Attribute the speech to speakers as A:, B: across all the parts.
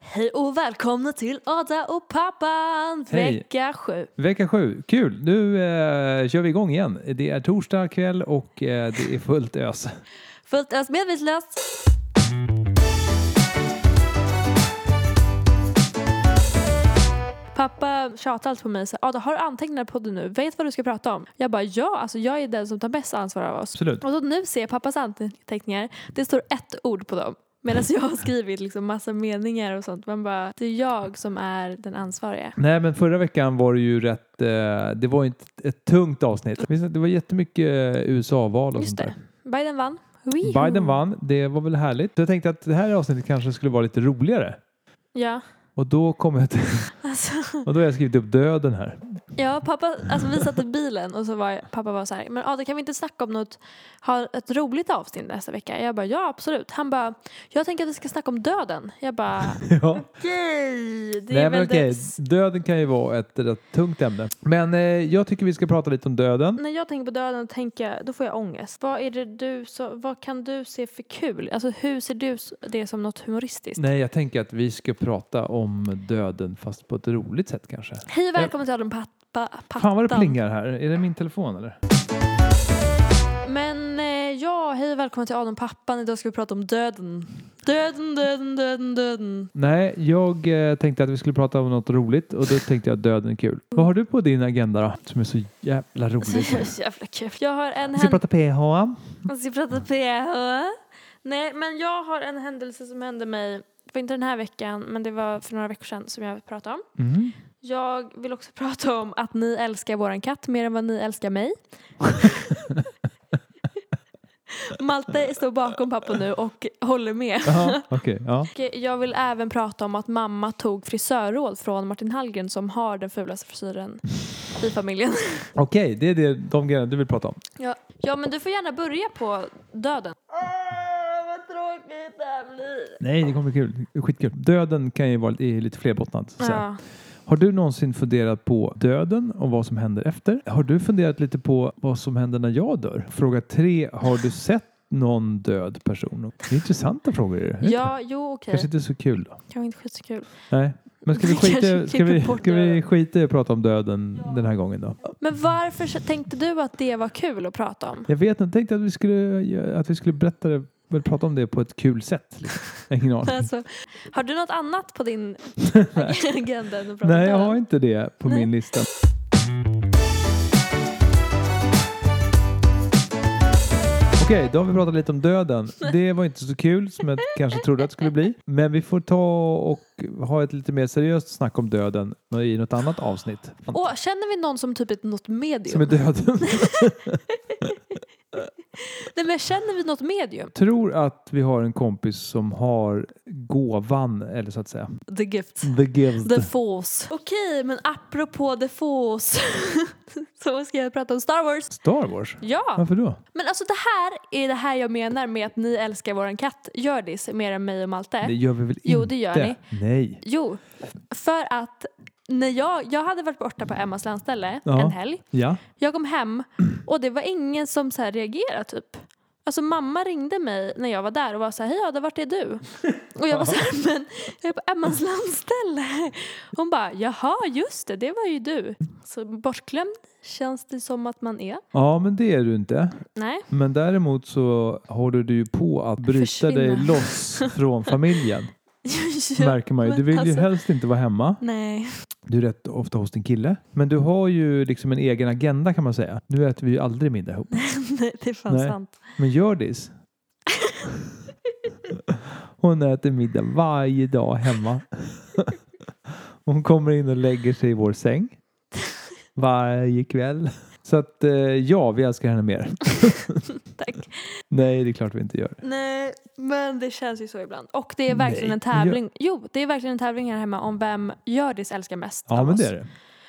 A: Hej och välkomna till Ada och pappan,
B: Hej.
A: vecka sju.
B: Vecka sju, kul! Nu eh, kör vi igång igen. Det är torsdag kväll och eh, det är fullt ös.
A: Fullt ös medvetslöst. Pappa tjatar alltid på mig och säger Ada, har du anteckningar på podden nu? Vet vad du ska prata om? Jag bara ja, alltså jag är den som tar mest ansvar av oss.
B: Absolut.
A: Och så nu ser jag pappas anteckningar, det står ett ord på dem. Medan jag har skrivit liksom massa meningar och sånt. Man bara, det är jag som är den ansvariga.
B: Nej, men förra veckan var det ju rätt... Eh, det var ju inte ett tungt avsnitt. Visst, Det var jättemycket eh, USA-val och
A: Just
B: sånt där.
A: det. Biden vann. Wiho.
B: Biden vann, det var väl härligt. Så jag tänkte att det här avsnittet kanske skulle vara lite roligare.
A: Ja.
B: Och då kom jag till,
A: Alltså.
B: och då har jag skrivit upp döden här.
A: Ja, pappa, alltså vi satt i bilen och så var pappa var så här, men Ada kan vi inte snacka om något, ha ett roligt avsnitt nästa vecka? Jag bara, ja absolut. Han bara, jag tänker att vi ska snacka om döden. Jag bara,
B: ja.
A: okej, det
B: Nej,
A: är
B: men
A: väl
B: okej.
A: det.
B: Döden kan ju vara ett rätt tungt ämne. Men eh, jag tycker vi ska prata lite om döden.
A: När jag tänker på döden tänker jag, då får jag ångest. Vad är det du, så, vad kan du se för kul? Alltså hur ser du s- det som något humoristiskt?
B: Nej, jag tänker att vi ska prata om döden fast på ett roligt sätt kanske.
A: Hej och välkommen till Adam Pappa. Pattan.
B: Fan vad det plingar här. Är det min telefon eller?
A: Men eh, ja, hej och välkommen till Adam Pappan. Idag ska vi prata om döden. Döden, döden, döden, döden.
B: Nej, jag eh, tänkte att vi skulle prata om något roligt och då tänkte jag att döden är kul. Vad har du på din agenda då? Som är så jävla
A: Så
B: roligt.
A: jävla kul. Jag har en
B: Vi
A: händelse...
B: ska prata PH.
A: Jag ska prata PH. Nej, men jag har en händelse som hände mig, det var inte den här veckan, men det var för några veckor sedan som jag pratade om.
B: Mm.
A: Jag vill också prata om att ni älskar våran katt mer än vad ni älskar mig. Malte står bakom pappa nu och håller med.
B: Jaha, Okej, ja.
A: Och jag vill även prata om att mamma tog frisörråd från Martin Hallgren som har den fulaste frisyren i familjen.
B: Okej, det är det, de grejerna du vill prata om.
A: Ja. ja, men du får gärna börja på döden. Åh, vad tråkigt det här blir.
B: Nej, det kommer bli kul. Skitkul. Döden kan ju vara lite, är lite flerbottnad. Så. att säga.
A: Ja.
B: Har du någonsin funderat på döden och vad som händer efter? Har du funderat lite på vad som händer när jag dör? Fråga tre, har du sett någon död person? Det är intressanta frågor. Är det?
A: Ja, jo okej.
B: Kanske inte så kul då.
A: Kanske inte skitkul.
B: Nej. Men ska vi
A: Kanske
B: skita, ska vi,
A: klipper bort
B: ska vi
A: döden.
B: skita i att prata om döden den här gången då?
A: Men varför så- tänkte du att det var kul att prata om?
B: Jag vet inte, jag tänkte att vi skulle, att vi skulle berätta det, väl prata om det på ett kul sätt. Liksom. Ingen aning.
A: Alltså, har du något annat på din agenda än att prata
B: Nej, jag
A: om
B: har
A: döden?
B: inte det på
A: Nej.
B: min lista. Okej, då har vi pratat lite om döden. Det var inte så kul som jag kanske trodde att det skulle bli. Men vi får ta och ha ett lite mer seriöst snack om döden i något annat avsnitt.
A: Åh, känner vi någon som typ är något medium?
B: Som är döden.
A: Nej men känner vi något medium?
B: Tror att vi har en kompis som har gåvan, eller så att säga.
A: The gift.
B: The gift.
A: The Force. Okej, men apropå The Force så ska jag prata om Star Wars.
B: Star Wars?
A: Ja!
B: Varför då?
A: Men alltså det här är det här jag menar med att ni älskar våran katt Hjördis mer än mig och Malte.
B: Det gör vi väl inte?
A: Jo, det gör
B: Nej.
A: Jo, för att när jag, jag hade varit borta på Emmas landställe
B: Ja.
A: en helg.
B: Ja.
A: Jag kom hem och det var ingen som så här reagerade typ. Alltså mamma ringde mig när jag var där och var så här, hej Ada, vart är du? Och jag var så här, men jag är på Emmas landställe. Hon bara, jaha, just det, det var ju du. Så bortglömd känns det som att man är.
B: Ja, men det är du inte.
A: Nej.
B: Men däremot så håller du ju på att bryta
A: Försvinna.
B: dig loss från familjen. märker man ju. Du vill ju
A: Alltså,
B: helst inte vara hemma.
A: Nej.
B: Du är rätt ofta hos din kille. Men du har ju liksom en egen agenda kan man säga. Nu äter vi ju aldrig middag ihop.
A: Nej, det är fan
B: Nej.
A: sant.
B: Men Hjördis. Hon äter middag varje dag hemma. Hon kommer in och lägger sig i vår säng. Varje kväll. Så att eh, ja, vi älskar henne mer.
A: Tack.
B: Nej, det är klart vi inte gör.
A: Nej, men det känns ju så ibland. Och det är verkligen
B: Nej,
A: en tävling. Jo, det är verkligen en tävling här hemma om vem Hjördis älskar mest
B: Ja,
A: av
B: men
A: oss.
B: det är det.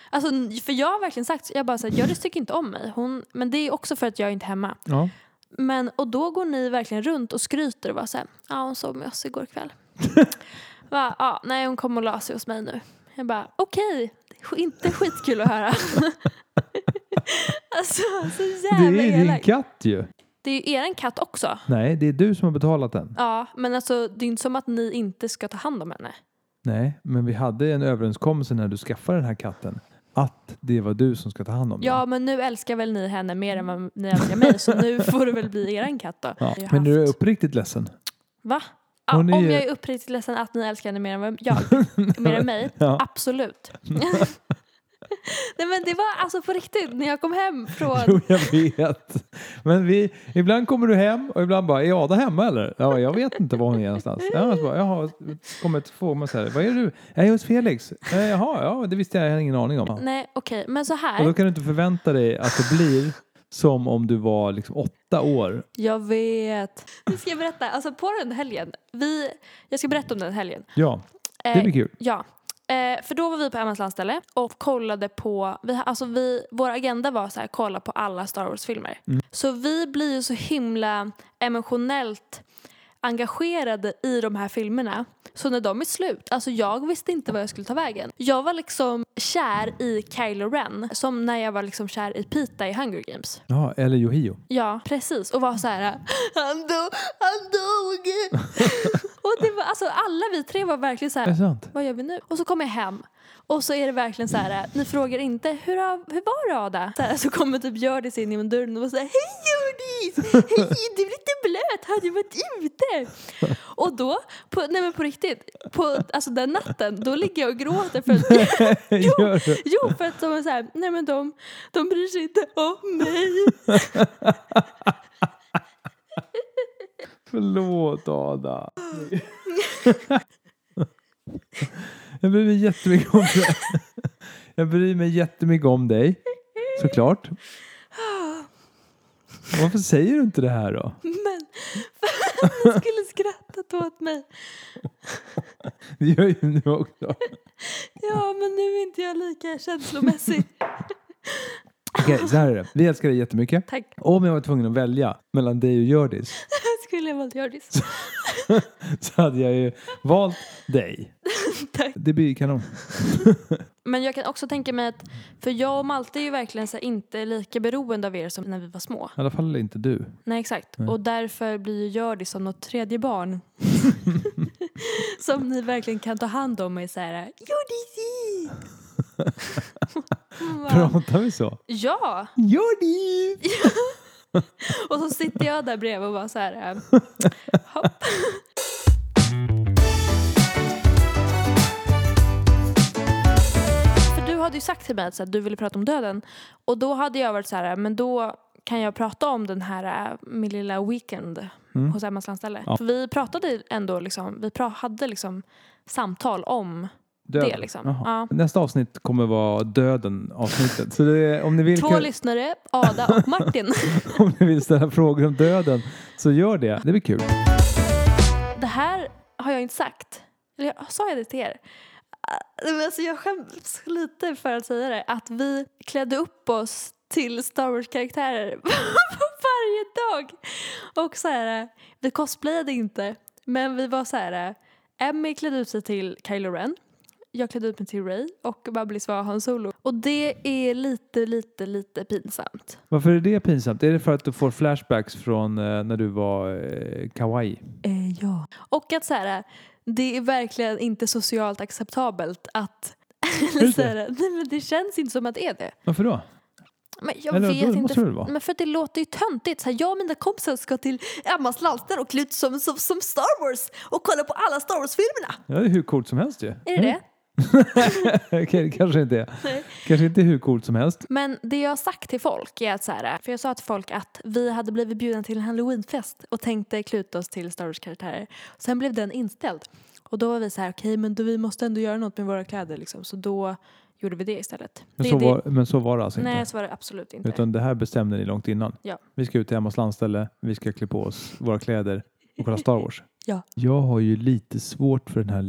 A: Alltså, för jag har verkligen sagt, jag bara säger Hjördis tycker inte om mig. Hon, men det är också för att jag är inte är hemma.
B: Ja.
A: Men, och då går ni verkligen runt och skryter och bara såhär, ja hon sov med oss igår kväll. Va, ja, nej hon kom och la sig hos mig nu. Jag bara, okej, sk- inte skitkul att höra. alltså så
B: Det
A: jävla
B: är din
A: elak.
B: katt ju.
A: Det är ju eran katt också.
B: Nej, det är du som har betalat den.
A: Ja, men alltså det är inte som att ni inte ska ta hand om henne.
B: Nej, men vi hade en överenskommelse när du skaffade den här katten att det var du som ska ta hand om
A: Ja,
B: den.
A: men nu älskar väl ni henne mer än vad ni älskar mig så nu får det väl bli eran katt då.
B: Ja.
A: Jag har
B: Men du är
A: haft-
B: uppriktigt ledsen.
A: Va? Ja,
B: Hon är
A: Om
B: ju-
A: jag är uppriktigt ledsen att ni älskar henne mer än vad jag, mer än mig,
B: Ja.
A: absolut. Nej men det var alltså på riktigt när jag kom hem från
B: Jo, jag vet. Men vi, ibland kommer du hem och ibland bara, är Ada hemma eller? Ja, jag vet inte var hon är någonstans. Ja, så bara, Jaha, kommer ett fråga så här, vad är du? Jag är hos Felix. "Eh, Jaha, ja, det visste jag, jag hade ingen aning om. Ja.
A: Mm, Nej okej, men så
B: Och då
A: här.
B: kan du inte förvänta dig att det blir som om du var liksom åtta år.
A: Jag vet. Nu ska jag berätta. Alltså på den helgen. Vi, jag ska berätta om den helgen.
B: Ja, det
A: Eh,
B: blir kul.
A: Ja. Eh, för då var vi på Emmas landställe och kollade på, vi, har- alltså vi, vår agenda var så här, kolla på alla Star Wars-filmer. Så vi blir ju så himla emotionellt engagerade i de här filmerna. Så när de är slut, alltså jag visste inte vad jag skulle ta vägen. Jag var liksom kär i Kylo Ren, som när jag var liksom kär i Pita i Hunger Games.
B: Ja, eller Yohio.
A: Ja, precis. Och var så här, han dog, han dog! och det var, alltså alla vi tre var verkligen så
B: Är
A: här,
B: det sant?
A: vad gör vi nu? Och så kommer jag hem och så är det verkligen så här, ni frågar inte hur, har- hur var det Ada? Så, här, så kommer typ Hjördis in genom dörren och säger Hej Hjördis! Hej, du är lite blöt, har du varit ute? Och då, på, nej men på riktigt, på, alltså den natten, då ligger jag och gråter för att
B: Gör du?
A: Jo, för att de är så här, nej men de, de bryr sig inte om mig.
B: Förlåt Ada. Jag bryr mig jättemycket om dig. Jag bryr mig jättemycket om dig. Såklart. Varför säger du inte det här då?
A: Men för att de skulle skratta åt mig.
B: Det gör ju nu också.
A: Ja, men nu är inte jag lika känslomässig.
B: Okej, så här är det. Vi älskar dig jättemycket.
A: Tack,
B: Om jag var tvungen att välja mellan dig och Hjördis
A: skulle jag valt Hjördis.
B: så hade jag ju valt dig.
A: Tack.
B: Det blir ju kanon.
A: Men jag kan också tänka mig att, för jag och Malte är ju verkligen så här, inte lika beroende av er som när vi var små.
B: I alla fall inte du.
A: Nej exakt. Och därför blir ju Hjördis som något tredje barn. som ni verkligen kan ta hand om och är så här Hjördisi! Hon bara,
B: Pratar vi så?
A: Ja!
B: Hjördis!
A: Och så sitter jag där bredvid och bara så här eh, hopp. För du hade ju sagt till mig att så här, du ville prata om döden och då hade jag varit så här, eh, men då kan jag prata om den här eh, min lilla weekend hos Emmas landställe.
B: Ja.
A: För vi pratade ändå liksom, vi pra- hade liksom samtal om
B: Döden.
A: det liksom.
B: Jaha.
A: Ja.
B: Nästa avsnitt kommer vara döden avsnittet. Så det är, om, ni vill,
A: Två
B: kan,
A: lyssnare, Ada och Martin.
B: om ni vill ställa frågor om döden så gör det. Det blir kul.
A: Det här har jag inte sagt. Eller jag, sa jag det till er? Ah, Men alltså jag skäms lite för att säga det. Att vi klädde upp oss till Star Wars-karaktärer på varje dag. Och så här, eh, vi cosplayade inte. Men vi var så här, eh, Emmy klädde ut sig till Kylo Ren. Jag klädde ut mig till Ray och Babblis var Han Solo. Och det är lite, lite, lite pinsamt.
B: Varför är det pinsamt? Är det för att du får flashbacks från eh, när du var eh, kawaii?
A: Eh, ja. Och att så här, det är verkligen inte socialt acceptabelt att...
B: Är det
A: så här, nej, men det känns inte som att det är det.
B: Varför då?
A: Men jag
B: Eller
A: vet
B: då
A: inte.
B: måste det väl vara?
A: Men för att det låter ju töntigt. Så här, jag och mina kompisar ska till Emmas landställe och klä ut som, som, som Star Wars och kolla på alla Star Wars-filmerna.
B: Ja, det är hur coolt som helst ju.
A: Är det det?
B: det? Okej, det kanske inte är.
A: Nej.
B: Kanske inte hur coolt som helst.
A: Men det jag har sagt till folk är att så här, för jag sa till folk att vi hade blivit bjudna till en halloweenfest och tänkte kluta oss till Star Wars-karaktärer. Sen blev den inställd. Och då var vi så här, okej men då, vi måste ändå göra något med våra kläder liksom. Så då gjorde vi det istället.
B: Men,
A: det,
B: så,
A: det,
B: var, men så var det alltså
A: nej,
B: inte?
A: så var det absolut inte.
B: Utan det här bestämde ni långt innan?
A: Ja.
B: Vi ska ut till Emmas landställe, vi ska klä på oss våra kläder och kolla Star Wars.
A: Ja.
B: Jag har ju lite svårt för den här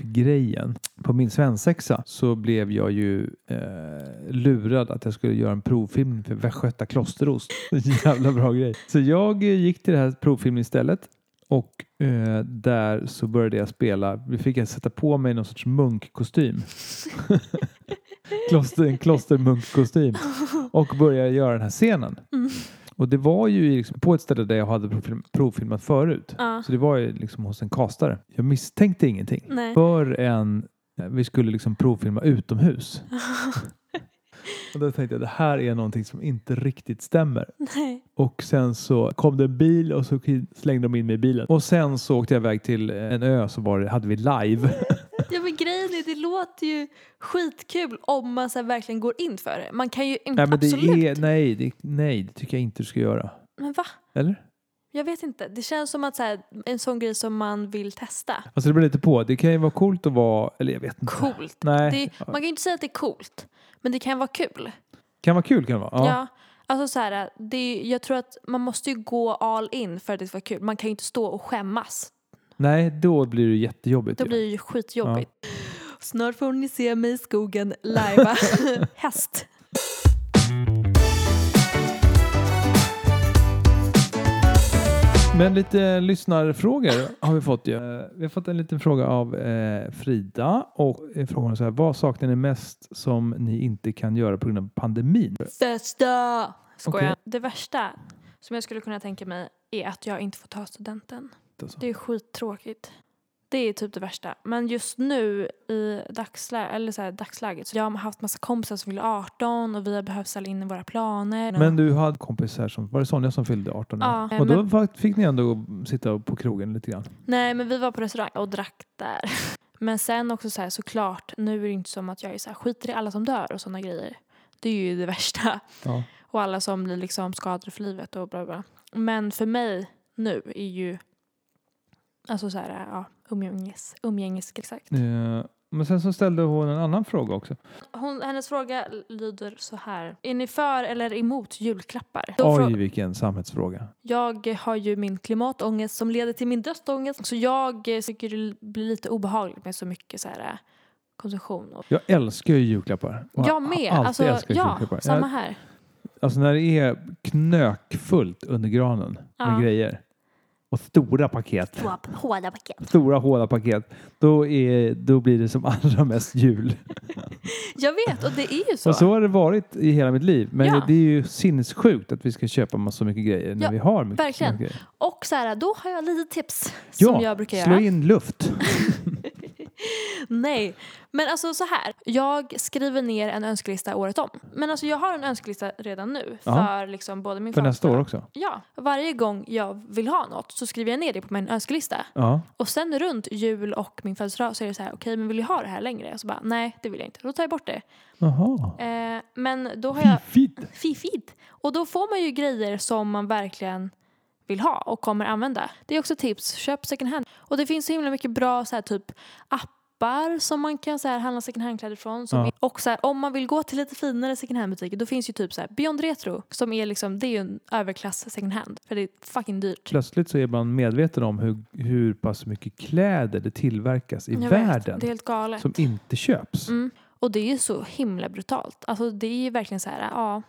B: live-grejen. På min svensexa så blev jag ju eh, lurad att jag skulle göra en provfilm för Västgöta klosterost. Jävla bra grej. Så jag eh, gick till det här provfilmen istället och eh, där så började jag spela. Vi fick jag sätta på mig någon sorts munkkostym. Kloster, en klostermunkkostym och började göra den här scenen. Och det var ju liksom på ett ställe där jag hade provfilm, provfilmat förut.
A: Ja.
B: Så det var ju liksom hos en kastare. Jag misstänkte ingenting.
A: Nej.
B: Förrän vi skulle liksom provfilma utomhus. Och då tänkte jag det här är någonting som inte riktigt stämmer.
A: Nej.
B: Och sen så kom det en bil och så slängde de in mig i bilen. Och sen så åkte jag iväg till en ö så var det, hade vi live.
A: Mm, Ja men grejen är, det låter ju skitkul om man så här verkligen går in för det. Man kan ju inte,
B: nej, men det
A: absolut.
B: är, nej, det, nej, det tycker jag inte du ska göra.
A: Men va?
B: Eller?
A: Jag vet inte. Det känns som att så här, en sån grej som man vill testa.
B: Alltså det beror lite på. Det kan ju vara coolt att vara, eller jag vet inte.
A: Coolt.
B: Nej,
A: Det, man kan ju inte säga att det är coolt, men det kan vara kul.
B: kan vara kul kan det vara.
A: Ja.
B: Ja.
A: Alltså så här, det, är- jag tror att man måste ju gå all in för att det ska vara kul. Man kan ju inte stå och skämmas.
B: Nej, då blir det jättejobbigt.
A: Då
B: ju.
A: blir det ju skitjobbigt. Snart får ni se mig i skogen lajva häst.
B: Men lite lyssnarfrågor har vi fått ju. Eh, Vi har fått en liten fråga av eh, Frida och eh, frågan är så här. Vad saknar ni mest som ni inte kan göra på grund av pandemin?
A: Festa! Skojar.
B: Okej.
A: Det värsta som jag skulle kunna tänka mig är att jag inte får ta studenten.
B: Alltså.
A: Det är skittråkigt. Det är typ det värsta. Men just nu i dagslä- eller så här, dagsläget så jag har haft massa kompisar som fyller 18 och vi har behövt ställa in våra planer.
B: Men du hade kompisar som, var det Sonja som fyllde 18
A: Ja,
B: år? Och då
A: men-
B: fakt- fick ni ändå sitta på krogen lite grann?
A: Nej, men vi var på restaurang och drack där. Men sen också så här, såklart, nu är det inte som att jag är så här, skiter i alla som dör och sådana grejer. Det är ju det värsta.
B: Ja.
A: Och alla som blir liksom skadade för livet och bla bla. Men för mig nu är ju alltså så här, ja, umgänges, umgänges exakt.
B: Eh, Men sen så ställde hon en annan fråga också.
A: Hon, hennes fråga lyder så här. Är ni för eller emot julklappar? Då
B: Oj,
A: frå-
B: vilken samhällsfråga.
A: jag har ju min klimatångest som leder till min dödsångest. Så jag eh, tycker det blir lite obehagligt med så mycket så här eh, konsumtion. Och-
B: Jag älskar ju julklappar. Och
A: Jag med.
B: har alltid
A: Alltså,
B: älskat
A: ja,
B: julklappar. Jag-
A: samma här.
B: Alltså när det är knökfullt under granen
A: Ja.
B: med grejer och stora paket,
A: Swap, hårda paket.
B: stora hårda paket, då, är, då blir det som allra mest jul.
A: Jag vet, och det är ju så.
B: Och så har det varit i hela mitt liv. Men
A: Ja.
B: det är ju sinnessjukt att vi ska köpa så mycket grejer när
A: Ja,
B: vi har mycket,
A: verkligen.
B: så mycket grejer.
A: Och så här, då har jag lite tips som
B: Ja,
A: jag brukar
B: slå
A: göra.
B: in luft.
A: Nej, men alltså så här. Jag skriver ner en önskelista året om. Men alltså jag har en önskelista redan nu för
B: Ja.
A: liksom både min
B: För nästa
A: framtid-
B: år också.
A: Ja, varje gång jag vill ha något så skriver jag ner det på min önskelista.
B: Ja.
A: Och sen runt jul och min födelsedag så är det så här, okej men vill jag ha det här längre? Och så bara, nej det vill jag inte. Då tar jag bort det.
B: Jaha.
A: Eh, men då har jag
B: Fiffigt.
A: Fiffigt! Och då får man ju grejer som man verkligen vill ha och kommer använda. Det är också tips, köp second hand. Och det finns så himla mycket bra så här, typ appar som man kan så här, handla second hand-kläder från. Som
B: Ja.
A: är, och så här, om man vill gå till lite finare second hand-butiker då finns ju typ så här, Beyond Retro som är liksom, det är ju en överklass second hand. För det är fucking dyrt.
B: Plötsligt så är man medveten om hur, hur pass mycket kläder det tillverkas i
A: Jag vet,
B: världen
A: Det är helt galet.
B: som inte köps.
A: Mm. Och det är ju så himla brutalt. Alltså det är ju verkligen så här, ja.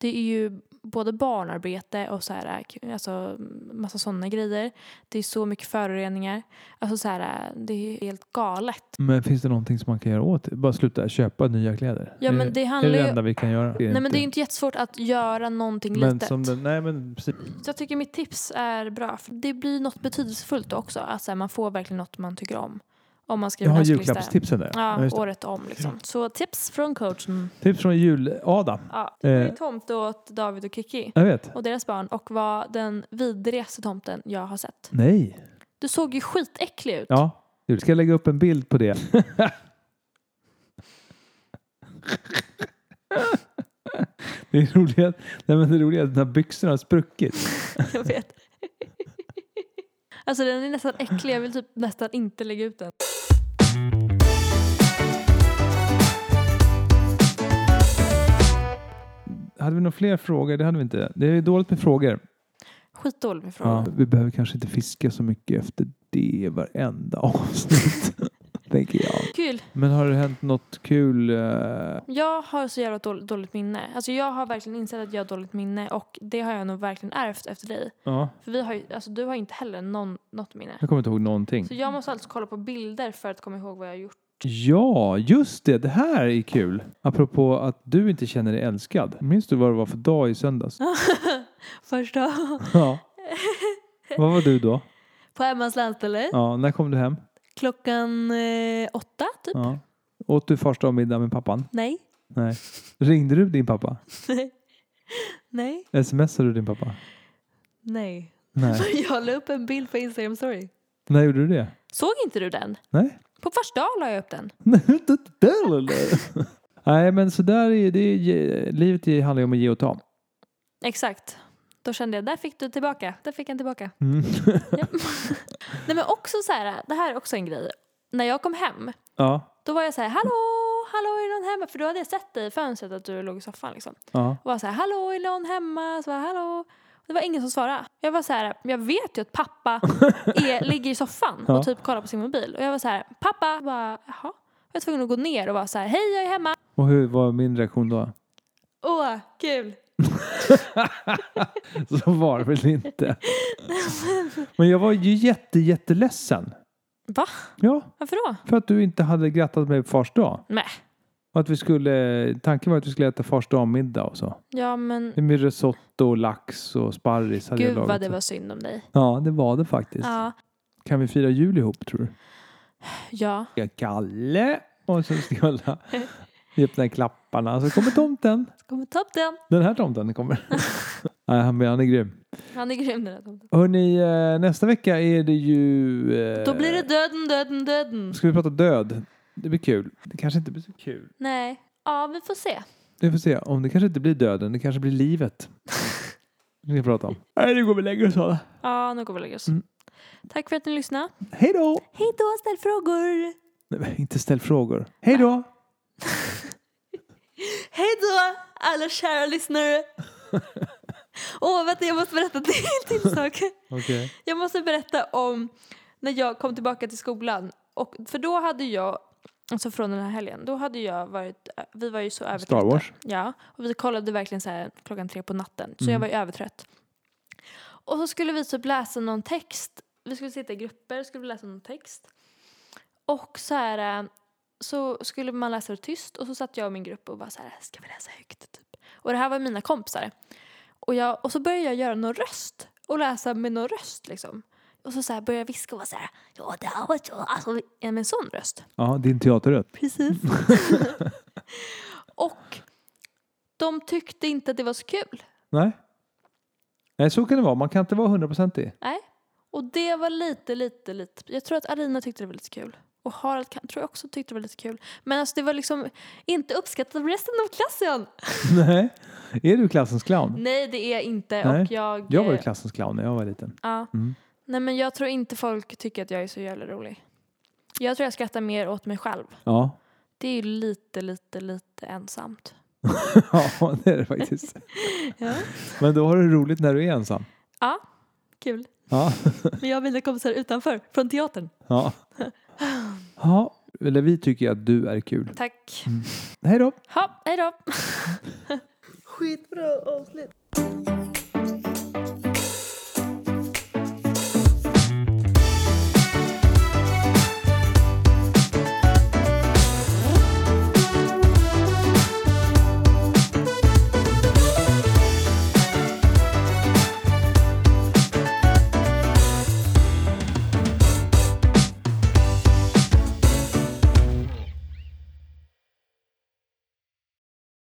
A: Det är ju både barnarbete och så här, alltså massa sådana grejer. Det är så mycket föroreningar. Alltså så här, det är ju helt galet.
B: Men finns det någonting som man kan göra åt det? Bara sluta köpa nya kläder?
A: Ja, men
B: Är-
A: det
B: är
A: handlar
B: det
A: ju-
B: Mm, det enda vi kan göra.
A: Nej men det är ju inte jättesvårt att göra någonting
B: men
A: litet.
B: som den, nej, men precis.
A: Så jag tycker mitt tips är bra. För det blir något betydelsefullt också. Att så här, man får verkligen något man tycker om. Om man
B: Jag
A: skriver
B: har
A: en önskelista.
B: julklappstipsen där. Ja,
A: Ja,
B: just det.
A: året om liksom. Så tips från coachen.
B: Tips från jul-Ada.
A: Ja, det var ju
B: Eh.
A: tomt åt David och Kiki.
B: Jag vet.
A: och deras barn och var den vidrigaste tomten jag har sett.
B: Nej.
A: Du såg ju skitäcklig ut.
B: Ja, du ska jag lägga upp en bild på det. Det är roligt, nej men det roliga är att den här byxorna har spruckit.
A: Jag vet. Alltså den är nästan äcklig, jag vill typ nästan inte lägga ut den.
B: Hade vi några fler frågor? Det hade vi inte. Det är dåligt med frågor.
A: Skitdålig min fråga.
B: Ja. Vi behöver kanske inte fiska så mycket efter det i varenda avsnitt. tänker jag.
A: Kul.
B: Men har det hänt något kul? eh,
A: Jag har så jävla dåligt, dåligt minne. Alltså jag har verkligen insett att jag har dåligt minne och det har jag nog verkligen ärvt efter dig.
B: Ja,
A: För vi har ju, alltså du har inte heller någon, något minne.
B: jag kommer inte ihåg någonting.
A: Så jag måste alltså kolla på bilder för att komma ihåg vad jag har gjort.
B: Ja, just det. Det här är kul. Apropå att du inte känner dig älskad. Minns du vad det var för dag i söndags?
A: första
B: Ja. Vad var du då?
A: på Emmans landställe.
B: Ja, när kom du hem?
A: Klockan eh, åtta typ.
B: Ja. Åt du första middag med pappan?
A: Nej.
B: Nej. Ringde du din pappa?
A: Nej.
B: Smsade du din pappa?
A: Nej.
B: Nej.
A: Jag la upp en bild på Instagram story.
B: När gjorde du det?
A: Såg inte du den?
B: Nej.
A: På första dag la jag upp den.
B: Nej, inte där, eller? Nej, men sådär är det. är ge- Livet är- handlar ju om att ge och ta.
A: Exakt. Då kände jag, där fick du tillbaka. Där fick han tillbaka.
B: Mm.
A: Nej men också så här, det här är också en grej. När jag kom hem,
B: Ja.
A: då var jag så här, hallå, hallå är någon hemma? För då hade jag sett dig i fönstret att du låg i soffan liksom.
B: Ja.
A: Och var så här, hallå är någon hemma? Så var jag, hallå. Och Det var ingen som svarade. Jag var så här, jag vet ju att pappa är, ligger i soffan
B: Ja.
A: och typ kollar på sin mobil. Och jag var så här, pappa, jag bara, jaha. Jag var tvungen att gå ner och vara så här, hej jag är hemma.
B: Och hur var min reaktion då?
A: Åh, kul.
B: Så var det väl inte. Men jag var ju jätte, jätteledsen.
A: Va?
B: Ja,
A: Varför då?
B: för att du inte hade grattat mig på fars dag.
A: Nej.
B: Och att vi skulle, tanken var att vi skulle äta fars dag-middag och så.
A: Ja men
B: Med risotto, och lax och sparris hade
A: gud
B: jag
A: vad
B: lagat.
A: det var synd om dig.
B: Ja, det var det faktiskt.
A: Ja.
B: Kan vi fira jul ihop tror du?
A: Ja.
B: Jag Kalle och så skulle jag vi öppna klapparna. Så kommer tomten.
A: Så kommer tomten.
B: Den här tomten kommer. Nej, han, men han är grym.
A: Han är grym den där tomten.
B: Hörni, eh, nästa vecka är det ju... eh,
A: Då blir det döden, döden, döden.
B: Ska vi prata död? Det blir kul. Det kanske inte blir så kul.
A: Nej. Ja, vi får se.
B: Vi får se. Om det kanske inte blir döden, det kanske blir livet. Det ska vi prata om. Nej, nu går vi längre så.
A: Ja, nu går vi och lägger oss.
B: Mm.
A: Tack för att ni lyssnade.
B: Hej då!
A: Hej då, ställ frågor!
B: Nej, men inte ställ frågor. Hej då!
A: Hej då, alla kära lyssnare! Åh, vänta, jag måste berätta till, till sak.
B: Okej.
A: Jag måste berätta om när jag kom tillbaka till skolan. Och, för då hade jag, alltså från den här helgen, då hade jag varit, vi var ju så övertrötta.
B: Star Wars.
A: Ja, och vi kollade verkligen så här klockan tre på natten. Så
B: Mm.
A: jag var ju övertrött. Och så skulle vi typ läsa någon text. Vi skulle sitta i grupper och skulle läsa någon text. Och så här eh, så skulle man läsa det tyst och så satt jag och min grupp och bara så här ska vi läsa högt typ. Och det här var mina kompisar. Och, jag, och så började jag göra någon röst och läsa med någon röst liksom. Och så, så här började jag viska och vara så här ja det här var jag, alltså vi- med en sån röst.
B: Ja, din teaterröst.
A: Precis. och de tyckte inte att det var så kul.
B: Nej. Nej, så kan det vara. Man kan inte vara hundraprocentig.
A: Nej. Och det var lite, lite, lite. Jag tror att Alina tyckte det var lite kul. Och Harald kan, tror jag också tyckte det var lite kul. Men alltså det var liksom inte uppskattat av resten av klassen.
B: Nej. Är du klassens clown?
A: Nej det är jag inte.
B: Nej.
A: Och jag,
B: Jag var ju
A: Mm, eh,
B: klassens clown när jag var liten.
A: Ja.
B: Mm.
A: Nej men jag tror inte folk tycker att jag är så jävla rolig. Jag tror jag skrattar mer åt mig själv.
B: Ja.
A: Det är ju lite, lite, lite ensamt.
B: Ja, det är det faktiskt.
A: Ja.
B: Men då har du roligt när du är ensam.
A: Kul.
B: Ja.
A: Men jag och mina kompisar utanför, från teatern.
B: Ja. ja. Eller vi tycker att du är kul.
A: Tack.
B: Hej då!
A: Ha, hej då.
C: Skitbra avsnitt.